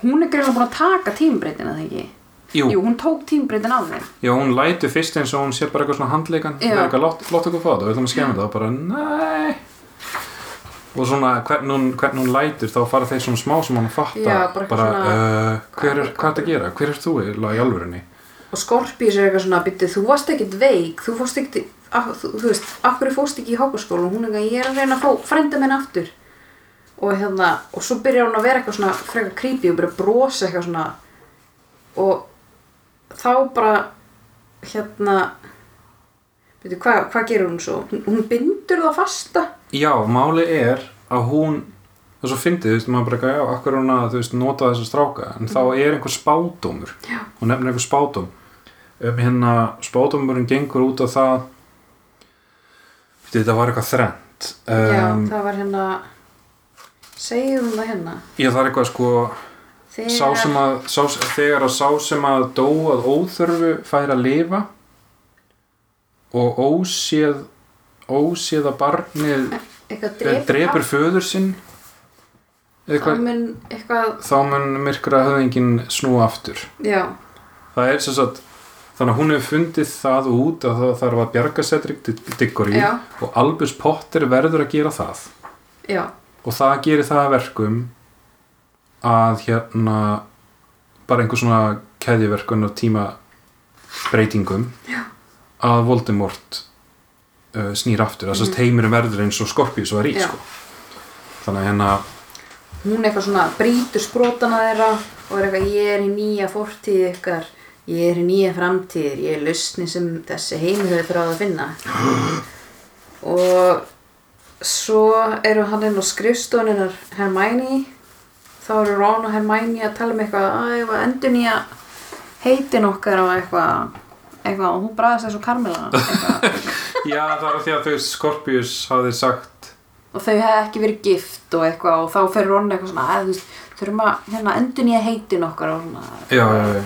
S2: hún er greinlega búin að taka tímbreytina þegar ekki
S1: jú,
S2: Jú, hún tók tímbreytin af þeim
S1: Já, hún lætur fyrst eins og hún sé bara eitthvað svona handleikan
S2: Já.
S1: Það er eitthvað, látt lát okkur fá þetta, við ætlum að skemmi það og bara, nei Og svona, hvern hún, hvern hún lætur þá fara þeir svona smá sem hann fatta
S2: Já, bara eitthvað svona-
S1: uh, Hver er, hvað er þetta að gera? Hver er þú eiginlega í alvörunni?
S2: og Skorpís er eitthvað svona, byrju, þú varst ekkit veik þú fórst ekkit, að, þú, þú veist af hverju fórst ekki í hokkaskóla og hún er eitthvað, ég er að reyna að fá frænda minn aftur og hérna, og svo byrjar hún að vera eitthvað svona frekar creepy og byrja að brosa eitthvað svona og þá bara hérna veitu, hvað hva gerir hún svo? Hún, hún bindur það fasta
S1: Já, máli er að hún Það er svo fyndið, þú veist, maður bara, eitthvað, já, akkur hún að, þú veist, nota þessa stráka En þá er einhver spádómur
S2: Mhm. Já.
S1: Hún nefnir einhver spádóm um, Hérna, spádómurinn gengur út á það Þetta var eitthvað þrennt
S2: Já,
S1: Um,
S2: það var hérna segir hún það hérna
S1: Já, það er eitthvað sko
S2: Þegar,
S1: sá sem að, sá, þegar að sá sem að dó að óþörfu fær að lifa og óséð óséð að barnið
S2: eitthvað
S1: drepur, drepur föður sinn
S2: það
S1: eitthvað,
S2: mun eitthvað
S1: þá mun myrkra höfðingin snúa aftur
S2: já,
S1: það er sem sagt þannig að hún hefur fundið það út að það þarf að bjarga Cedric Di- Diggory
S2: Já.
S1: og Albus Potter verður að gera það
S2: já,
S1: og það gerir það að verkum að hérna bara einhver svona keðjuverkun og tíma breytingum Já. að Voldemort uh, snýr aftur, þess að heimurinn verður eins og Skorpíus var í
S2: Já.
S1: sko. þannig að hérna
S2: hún eitthvað svona brýtur sprótana þeirra og er eitthvað ég er í nýja fortíð ykkar ég er í nýja framtíð, ég er lausni sem þessi heimur hefur þráð að finna og svo eru hann inn á skrifstofuninnar Hermæni þá eru Ron og Hermæni að tala um eitthvað að ég var endur nýja heitin okkar og eitthvað eitthvað og hún bræðast þessu Carmela eitthvað
S1: já það var því að þau Skorpíus hafði sagt
S2: og þau hefði ekki verið gift og eitthvað og þá fer Ron eitthvað svona að þú veist, þurfum að hérna endur nýja heitin okkar og svona
S1: já, já, já,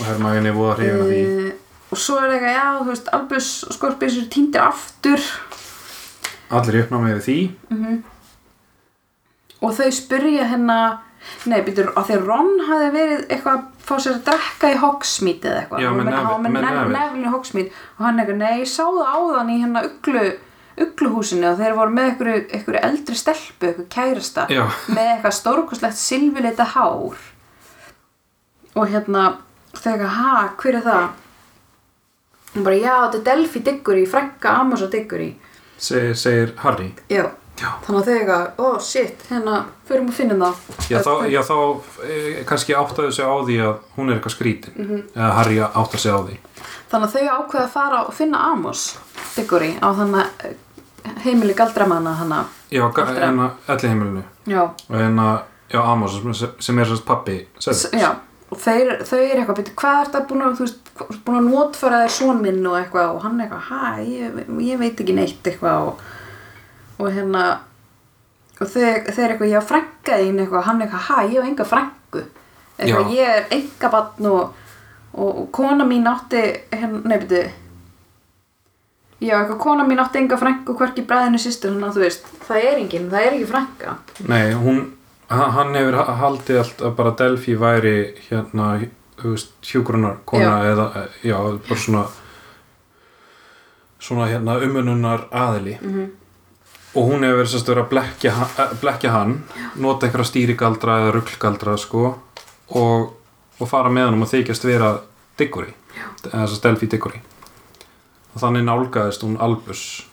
S1: og hermaginni voða hrifin af því
S2: uh, og svo er eitthvað, já, þú veist Albus og Skorpís eru týndir aftur
S1: allir í uppnámi yfir því
S2: og þau spyrja hérna nei, býtur, að því að Ron hafði verið eitthvað að fá sér að drekka í Hogsmeade eða eitthvað,
S1: Já, með nef-
S2: hann var
S1: með
S2: með nef-
S1: nefið.
S2: nefnil í Hogsmeade og hann eitthvað, nei, ég sá það áðan í hérna uglu ugluhúsinu og þeir voru með einhverju, einhverju eldri stelpu, einhverju kærasta
S1: já,
S2: með eitthvað stórkoslegt silfurleita hár og hérna þegar, ha, hver er það? hún bara, já, þetta er Delphi Diggory, frekka Amasa Diggory
S1: segir, segir Harry
S2: já,
S1: Já.
S2: þannig að þegar, ó, oh, shit hérna, förum að finna það
S1: Já, þá, já, þá eh, kannski áttaðu sig á því að hún er eitthvað skrítin eða Harry áttaðu sig á því
S2: þannig að þau ákveða að fara og finna Amos Diggory á þannig eh, heimili galdramanna hana
S1: Já, ga-
S2: Eftir að-
S1: en að elli heimilinu
S2: já,
S1: og en að, já, Amos sem- sem er sérst pappi
S2: S-
S1: Cedric.
S2: já og þeir, þau eru eitthvað, byrju, hvað er þetta búin að, þú veist, hva- þú ert búin að notfæra þér son minn og eitthvað og hann eitthvað, hæ, ég, ég veit ekki neitt eitthvað og, og hérna, og þeir, þeir eru eitthvað, ég að frænka þín eitthvað, hann eitthvað, hæ, ég hef enga frænku, eitthvað,
S1: Já.
S2: ég er enga barn og, og, og kona mín átti, hérna, nei, byrju, já, eitthvað, kona mín átti enga frænku, hverki bræðinu sýstur, þannig að þú veist, það er engin, það er ekki frænka.
S1: Nei, hún, ha- hann hefur ha- haldið allt að bara Delphi væri hérna, þú veist, hjúgrunarkona eða, eh, já, bara svona svona hérna umununar aðili -hmm. og hún hefur verið sérst verið að blekja, ha- eh, blekja hann, nota einhverja stýrigaldra eða rugglgaldra, sko og, og fara með hann um að þykjast vera Diggory, eða sérst Delphi Diggory og þannig nálgaðist hún Albus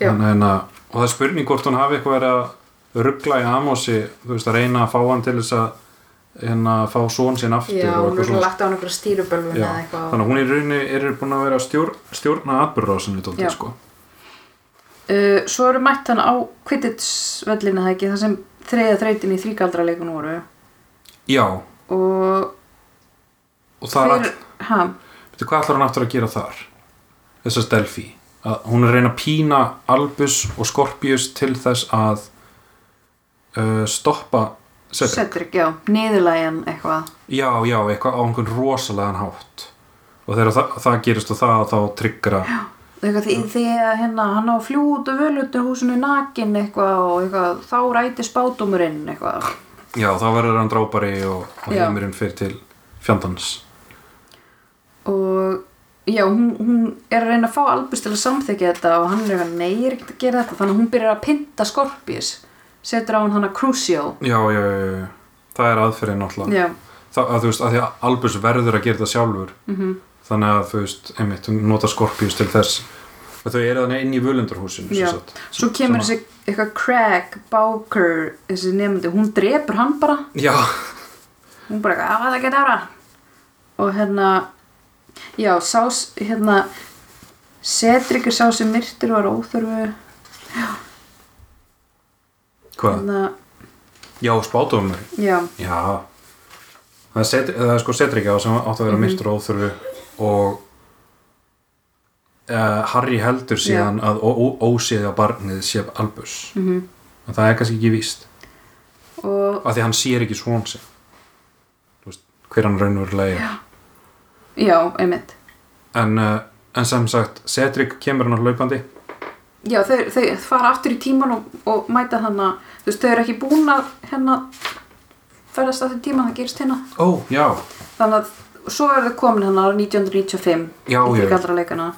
S2: Já.
S1: Þannig að hérna- og það er spurning hvort hún hafi eitthvað verið að ruggla í Amosi þú veist að reyna að fá hann til þess að hérna að fá són sinn aftur
S2: Já,
S1: og
S2: hún
S1: eitthvað
S2: er
S1: svona.
S2: lagt á hann einhverja stýrubölvun
S1: Já,
S2: eða eitthvað.
S1: þannig að hún í rauninni er búin að vera að stjórn, stjórna atbyrðrásinni
S2: Já.
S1: tóttið sko
S2: Eh, Uh, svo eru mætt hann á Quidditch vellinu það ekki, það sem þriða þrautin í þríkaldraleikun voru
S1: já,
S2: og
S1: og það er all
S2: ha,
S1: Veitir, hvað ætlar hann aftur að gera þar? Þessast Delphi. Að hún er að reyna að pína Albus og Scorpius til þess að uh, stoppa Cedric.
S2: Cedric, já, niðurlægjan eitthvað
S1: Já, já, eitthvað á einhvern rosalegan hátt. Og þegar það, það gerist og það þá tryggra.
S2: Eitthvað, því, þegar hérna, hann á fljút og völutu húsinu nakin eitthvað og eitthvað, þá ræti spátumurinn eitthvað
S1: Já, þá verður hann drápari og, og
S2: Já.
S1: heimurinn fyrir til fjandans.
S2: og já, hún, hún er að reyna að fá Albus til að samþykja þetta og hann er eitthvað, nei, ég er ekkert að gera þetta þannig að hún byrjar að pynta Scorpius setur á hann hana Crucio
S1: Já, já, já, já, já. Það er aðferðin náttúrulega.
S2: já,
S1: Það, að, þú veist, að því að Albus verður að gera þetta sjálfur.
S2: mhm,
S1: þannig að þú veist, einmitt, hún nota Scorpius til þess og þau eru þannig inn í völundarhúsinu
S2: Já.
S1: sem sagt.
S2: svo kemur
S1: Sem að-
S2: þessi eitthvað Craig Bowker þessi nefndi, hún drepur hann bara
S1: já,
S2: hún bara eitthvað, að það geta ára og hérna já, sá, s- hérna Cedric er sá sem myrtur var óþörfu
S1: hvað?
S2: hérna,
S1: já, spátumur
S2: já,
S1: já, það er, set, það er sko Cedric á sem átt að vera mm -hmm. myrtur og óþörfu og uh, Harry heldur síðan já. að ó- ó- óséðja barnið sé Albus mm -hmm. en það er kannski ekki víst
S2: mhm. og
S1: af því hann sér ekki svon sig Þú veist, hver hann raunverulega er
S2: já, einmitt
S1: en, uh, en sem sagt Cedric kemur hann á hlaupandi
S2: já, þau, þau fara aftur í tíman og, og mæta þannig að þú veist, þau eru ekki búin að hérna ferðast aftur í tíman, það gerist hérna
S1: ó, já,
S2: þannig að svo eru þau komin hérna árið 1995
S1: Já,
S2: í
S1: já.
S2: þrygaldra leikana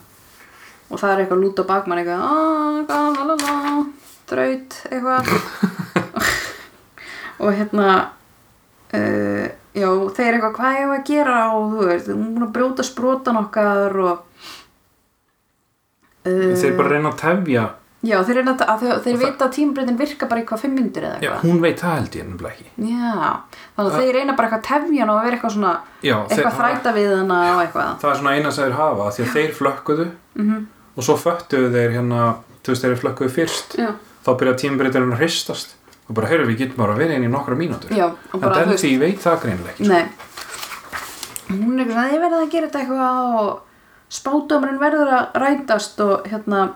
S2: og það er eitthvað lúta bakmann eitthvað "Ah, gá, la, la, la, draut eitthvað og hérna uh, já, þeir eru eitthvað hvað ég var að gera og þú veist, hún er búin að brjóta sprotan okkar og uh,
S1: þeir bara reyna að tefja
S2: já, þeir, reyna að, að, þeir, þeir
S1: það-
S2: vita að tímbreytin virka bara eitthvað fimm myndir eða
S1: já,
S2: eitthvað
S1: hún veit það held ég nefnilega ekki
S2: Já, þannig að þeir reyna bara eitthvað að tefja hann og vera eitthvað svona
S1: já,
S2: eitthvað þræta við hana og eitthvað
S1: það er svona eina sem þeir hafa af því að þeir flökkuðu
S2: Mhm.
S1: -hmm. og svo föttuðu þeir hérna þú veist þeir flökkuðu fyrst
S2: Já,
S1: þá byrja tímabritarinn að hristast og bara heyrðu við getum bara verið inn í nokkra mínútur
S2: já og
S1: en
S2: bara þú
S1: Delphi veit það greinilega ekki
S2: Nei Hún er eitthvað svona, ég verði að gera þetta eitthvað og spátumurinn verður að rætast og hérna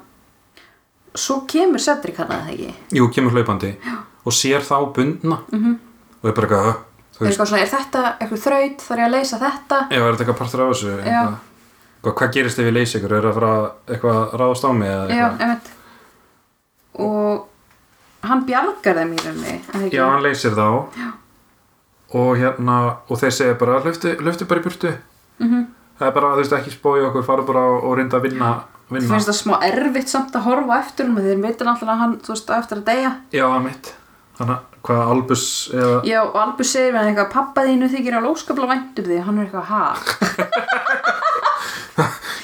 S2: svo kemur Cedric hann að það ekki
S1: sko. jú, kemur hlaupandi já. og sér þá bundna -hmm.
S2: Mhm.
S1: og er bara eitthvað "Hö, þú
S2: er
S1: veist,
S2: eitthvað svona, er þetta eitthvað þraut þarf ég að leysa þetta
S1: já, er þetta eitthvað partur af þessu eitthvað, hvað, hvað gerist ef ég leysi ykkur er það bara eitthvað að ráðast á mig eða
S2: Já,
S1: eitthvað
S2: einmitt og hann bjargar þeim í rauninni er það ekki?
S1: Já, hann leysir þá og hérna, og þeir segja bara löftu, löftu bara í burtu
S2: Mhm.
S1: það er bara, þú veist, ekki spói okkur fara bara og reynda að vinna,
S2: Þú
S1: vinna.
S2: finnst það smá erfitt samt að horfa á eftir um þeir veitir náttúrulega að hann, þú veist, á eftir að deyja
S1: Já, mitt þannig að hvað Albus eða,
S2: Já, og Albus segir við hann eitthvað pappa þínu þykir alveg óskaplega væntur því um hann er eitthvað, ha,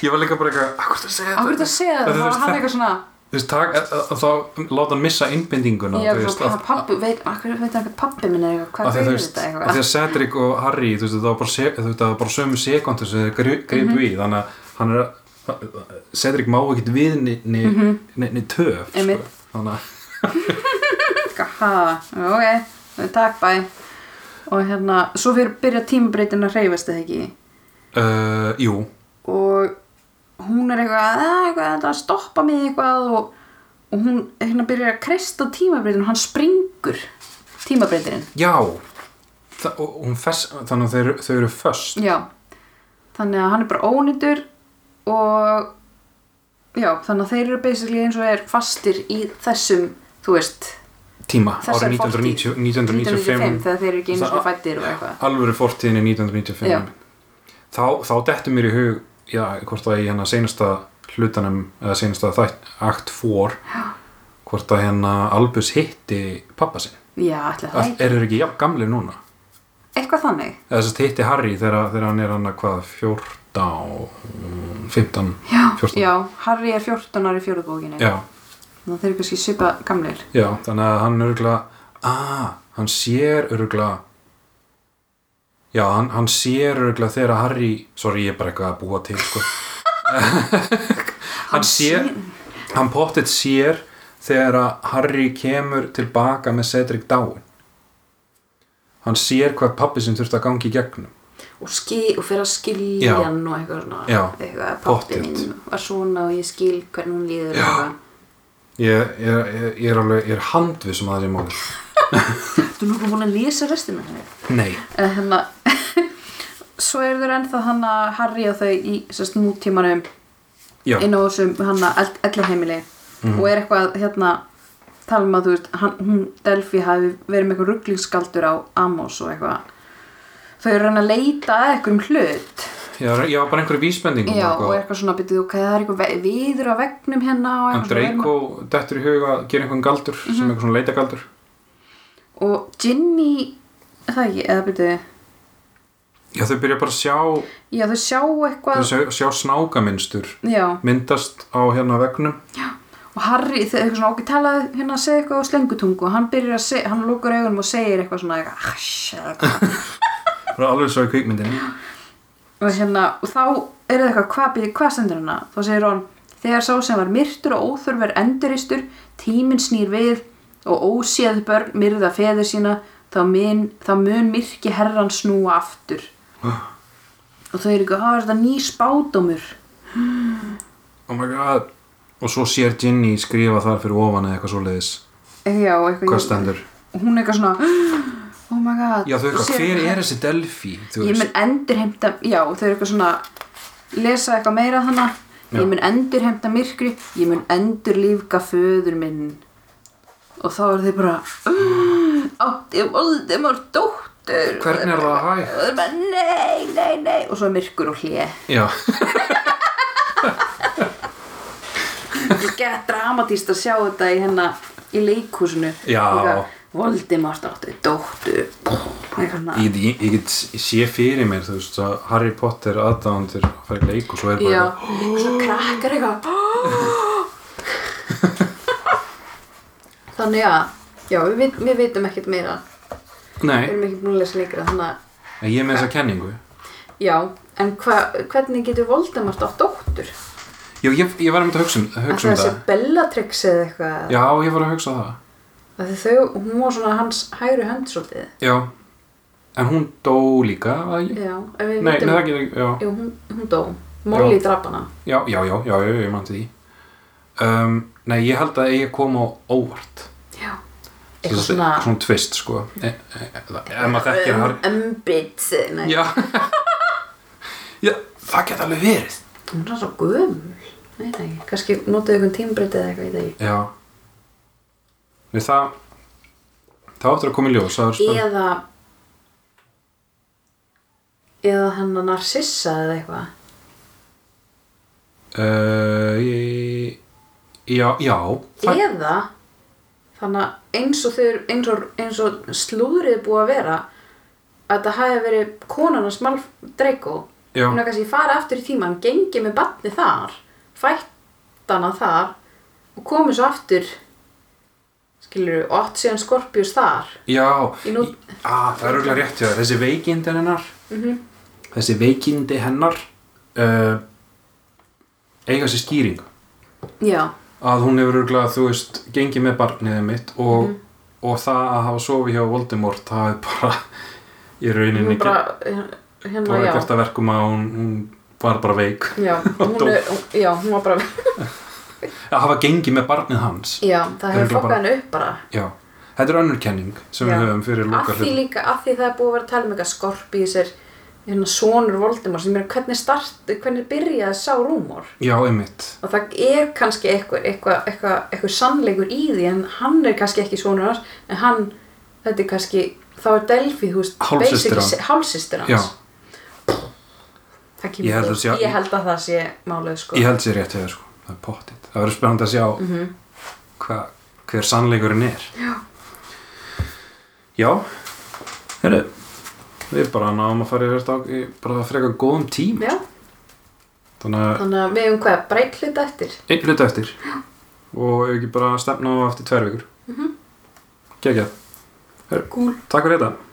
S1: ég var líka bara eitthvað, akkur það segja
S2: á hverju
S1: þetta
S2: þetta segja það
S1: Þetta er
S2: þá var hann
S1: þetta-
S2: eitthvað svona,
S1: þú veist, tak, að, að, þá láta hann missa innbendinguna
S2: já,
S1: þú
S2: svona,
S1: veist,
S2: pappa,
S1: að,
S2: pappi veit, af hverju veit hann eitthvað pappi minn er eitthvað,
S1: að
S2: hvað
S1: því að þú
S2: fyrir
S1: veist,
S2: þetta
S1: að því
S2: eitthvað
S1: að Cedric og Harry þú veist, það var bara, se, þú veist, það var bara sömu sekundur sem þeir gri- gripu
S2: Mhm.
S1: í, þannig að hann er að Cedric má ekkert við ni, ni, mm ni, ni töf
S2: Mhm.
S1: sko.
S2: Einmitt.
S1: þannig að
S2: eitthvað, ha, ok, takk, bæ og hérna, svo fyrir byrja tímabreytin að hreyfast eða ekki
S1: Uh, jú,
S2: og hún er eitthvað, "Ah, eitthvað þetta er að stoppa mig eitthvað og, og hún hérna byrjar að kreista tímabreytin og hann springur tímabreytinin
S1: já Þa, og og hún fess, þannig að þau, þau eru föst
S2: Já, þannig að hann er bara ónýtur og já, þannig að þeir eru basically eins og er fastir í þessum, þú veist,
S1: tíma
S2: þessar
S1: árið 1990, 1995
S2: þegar þeir eru ekki eins og
S1: Það-
S2: fættir og eitthvað.
S1: alvöru fortíðinni 1995
S2: Já.
S1: þá, þá dettur mér í hug já, hvort að í hennar seinasta hlutanum eða seinasta þætt, akt fór hvort að hennar Albus hitti pappa sinn
S2: Já, ætla það
S1: Að-
S2: ekki.
S1: eru þeir ekki jafn gamlir núna
S2: Eitthvað þannig.
S1: eða þess að hitti Harry þegar, þegar hann er hann að hvað 14 15
S2: Já,
S1: 14.
S2: já, Harry er 14 ári í fjóruðbókinni.
S1: Sko. já
S2: Þannig að þeir eru kannski svipa gamlir.
S1: Já, þannig að hann örugla ah, hann sér örugla já, hann, hann sér örugla þegar Harry sorry, ég er bara eitthvað að búa til sko. hann sér hann pottet sér þegar að Harry kemur tilbaka með Cedric dáin hann sér hvað pappi sem þurfti að gangi í gegnum
S2: og, ski, og fyrir að skilja
S1: Já.
S2: hann og eitthvað svona
S1: Já,
S2: eitthvað, pappi
S1: pottþétt.
S2: mín var svona og ég skil hvernig hún líður og
S1: Já.
S2: eitthvað.
S1: ég, ég, ég, ég er alveg ég er handvið sem að það sé málið
S2: Þú nokkuð búin að lýsa restina henni
S1: nei,
S2: Hanna Eh, hérna, Svo eru þeir ennþá hann að Harry og þau í sérst nútímanum
S1: já, Mhm.
S2: inn á þessum hann að ellarheimili og er eitthvað hérna tala um að þú veist, hann, hún Delphi hafi verið með eitthvað rugglingskaldur á Amos og eitthvað þau eru hann að leita að eitthvað um hlut
S1: já, já bara einhverju vísbendingum og
S2: já, og
S1: eitthvað.
S2: eitthvað svona byrjuð ok, það er eitthvað ve- viður á veggnum hérna og
S1: en
S2: eitthvað svona
S1: Draco dettur í huga að gera einhvern galdur
S2: Mhm.
S1: sem einhver svona leitagaldur
S2: og Ginny, er það ekki, eða byrjuðu
S1: já, þau byrja bara að sjá,
S2: já, þau sjá
S1: þau
S2: eitthvað
S1: sjá, sjá snákaminstur
S2: já,
S1: myndast á hérna vegnum
S2: og Harry, þau eitthvað svona okkur talaði hérna að segja eitthvað á slengutungu og hann byrjar að segja, hann lókur augunum og segir eitthvað svona eitthvað, "Ash," eða eitthvað
S1: bara alveg svo í kvikmyndinni
S2: og hérna, og þá er það eitthvað hvað býðir, hvað stendur hana? þá segir hann, þegar sá sem var myrtur og óþörfur enduristur, tíminn snýr við og óséð börn myrða feður sína, þá mun, þá mun myrki herran snúa aftur og þau eru ekki að hafa þetta ný spátumur
S1: oh my god og svo sér Ginny skrifa þar fyrir ofan eða eitthvað svoleiðis
S2: já, og eitthvað
S1: hvað stendur
S2: og hún er eitthvað svona, oh my god
S1: já þau
S2: Og
S1: eitthvað,
S2: sér-
S1: hver er þessi Delphi þú
S2: ég
S1: veist,
S2: mun endurheimta já, þau eru eitthvað svona lesa eitthvað meira þannig
S1: Já.
S2: ég mun endurheimta myrkri ég mun endurlífga föður minn og þá er þau bara "Ah, átti Voldemort dóttur
S1: hvernig er það hægt
S2: og þau eru bara nei, nei, nei og svo er myrkur og hlje
S1: já,
S2: það er gett dramatíst að sjá þetta í hennar í leikhúsinu
S1: Já.
S2: Eitthvað, Voldemort átti dóttur eitthvað svona
S1: ég, ég, ég get ég sé fyrir mér þú veist að Harry Potter aðdáðandir að fara í leik og svo er bara
S2: Já,
S1: eitthvað,
S2: svo krakkar eitthvað Þannig að, já, við, vit- við vitum ekkert meira Við
S1: nei,
S2: erum ekki búin að lesa leikra, þannig að,
S1: en ég er með þessa kenningu
S2: já En hva, hvernig getur Voldemort átt dóttur?
S1: já, ég, ég var einmitt að hugsa um, hugsa
S2: Að
S1: um
S2: það sé
S1: það
S2: Bellatrix eða eitthvað
S1: já, ég var að hugsa um það
S2: Af því Þau, hún var svona hans hægri hönd svolítið
S1: já, en hún dó líka var það ekki?
S2: Já, ef við
S1: nei, nei,
S2: vitum
S1: það getur ekki, já
S2: Jú, hún, hún dó, Molly draf hana
S1: Já, já, já, já, já, ég mann til því um, Nei, ég held að ég kom á óvart
S2: Já
S1: Svo-
S2: Eitthvað svona
S1: Svona tvist, sko e, e, eða- Ef maður þekkir
S2: um,
S1: hann
S2: Umbit, nei
S1: Já Já, það geta alveg verið
S2: Hún er svo gömul Nei, nei, kannski notuðu ykkur tímbreytið eða eitthvað í dag
S1: Já Nei, það Það áttur að koma í ljós það er spurning.
S2: eða eða hennar narsissa eða eitthvað
S1: uh, ég- Já, já það,
S2: eða þannig að eins og, þeir, eins og, eins og slúðrið er búið að vera að það hafi verið konan að smal dreiko
S1: Já.
S2: hún er kannski fara aftur í tíman gengið með batni þar fættana þar og komið svo aftur skilur og átt síðan skorpjus þar
S1: Já,
S2: Í nú-
S1: Í- ah, það er auðvitað rétt hjá þér. þessi veikindi hennar
S2: Mhm.
S1: þessi veikindi hennar uh, eiga sér skýringu
S2: já,
S1: að hún hefur auðvitað, þú veist, gengið með barniðið mitt og,
S2: Mhm.
S1: og það að hafa sofið hjá Voldemort, það er bara í rauninni
S2: hún
S1: bara,
S2: bara hérna,
S1: bara
S2: já
S1: gert að verkum að hún, hún var bara veik
S2: já, hún er, já, hún var bara
S1: að hafa gengið með barnið hans
S2: Já, það
S1: er
S2: hefur
S1: örugglega
S2: fokkað
S1: bara-
S2: henni upp bara
S1: já, þetta er önnur kenning sem
S2: Já.
S1: við höfum fyrir
S2: Af
S1: lókar
S2: því líka, af því það er búið að vera að tala um eitthvað skorpi í þessir hérna, sonur Voldemort sem er hvernig start, hvernig byrjaði sá rúmor
S1: já, einmitt
S2: og það er kannski eitthvað, eitthvað, eitthvað, eitthvað sannleikur í því en hann er kannski ekki sonur hans en hann, þetta er kannski þá er Delphi, þú veist,
S1: Hálfsystir
S2: basically
S1: hans.
S2: se- hálfsystir hans
S1: já,
S2: Það
S1: Ég held
S2: kemur
S1: að sé-
S2: ég, ég held að það sé málið sko
S1: ég held sér rétt hefur sko, það er pottitt það verður spennandi að sjá hva, hver sannleikurinn er já já Heru, við bara náum að fara í þetta á- í bara frekar góðum tím
S2: Já,
S1: þannig að
S2: þannig að við hefum hvað, breytt hlut eftir
S1: einn hluta eftir og ef ekki bara stefna á eftir tvær vikur mm -hmm. geggjað Heru,
S2: Kúl.
S1: takk fyrir þetta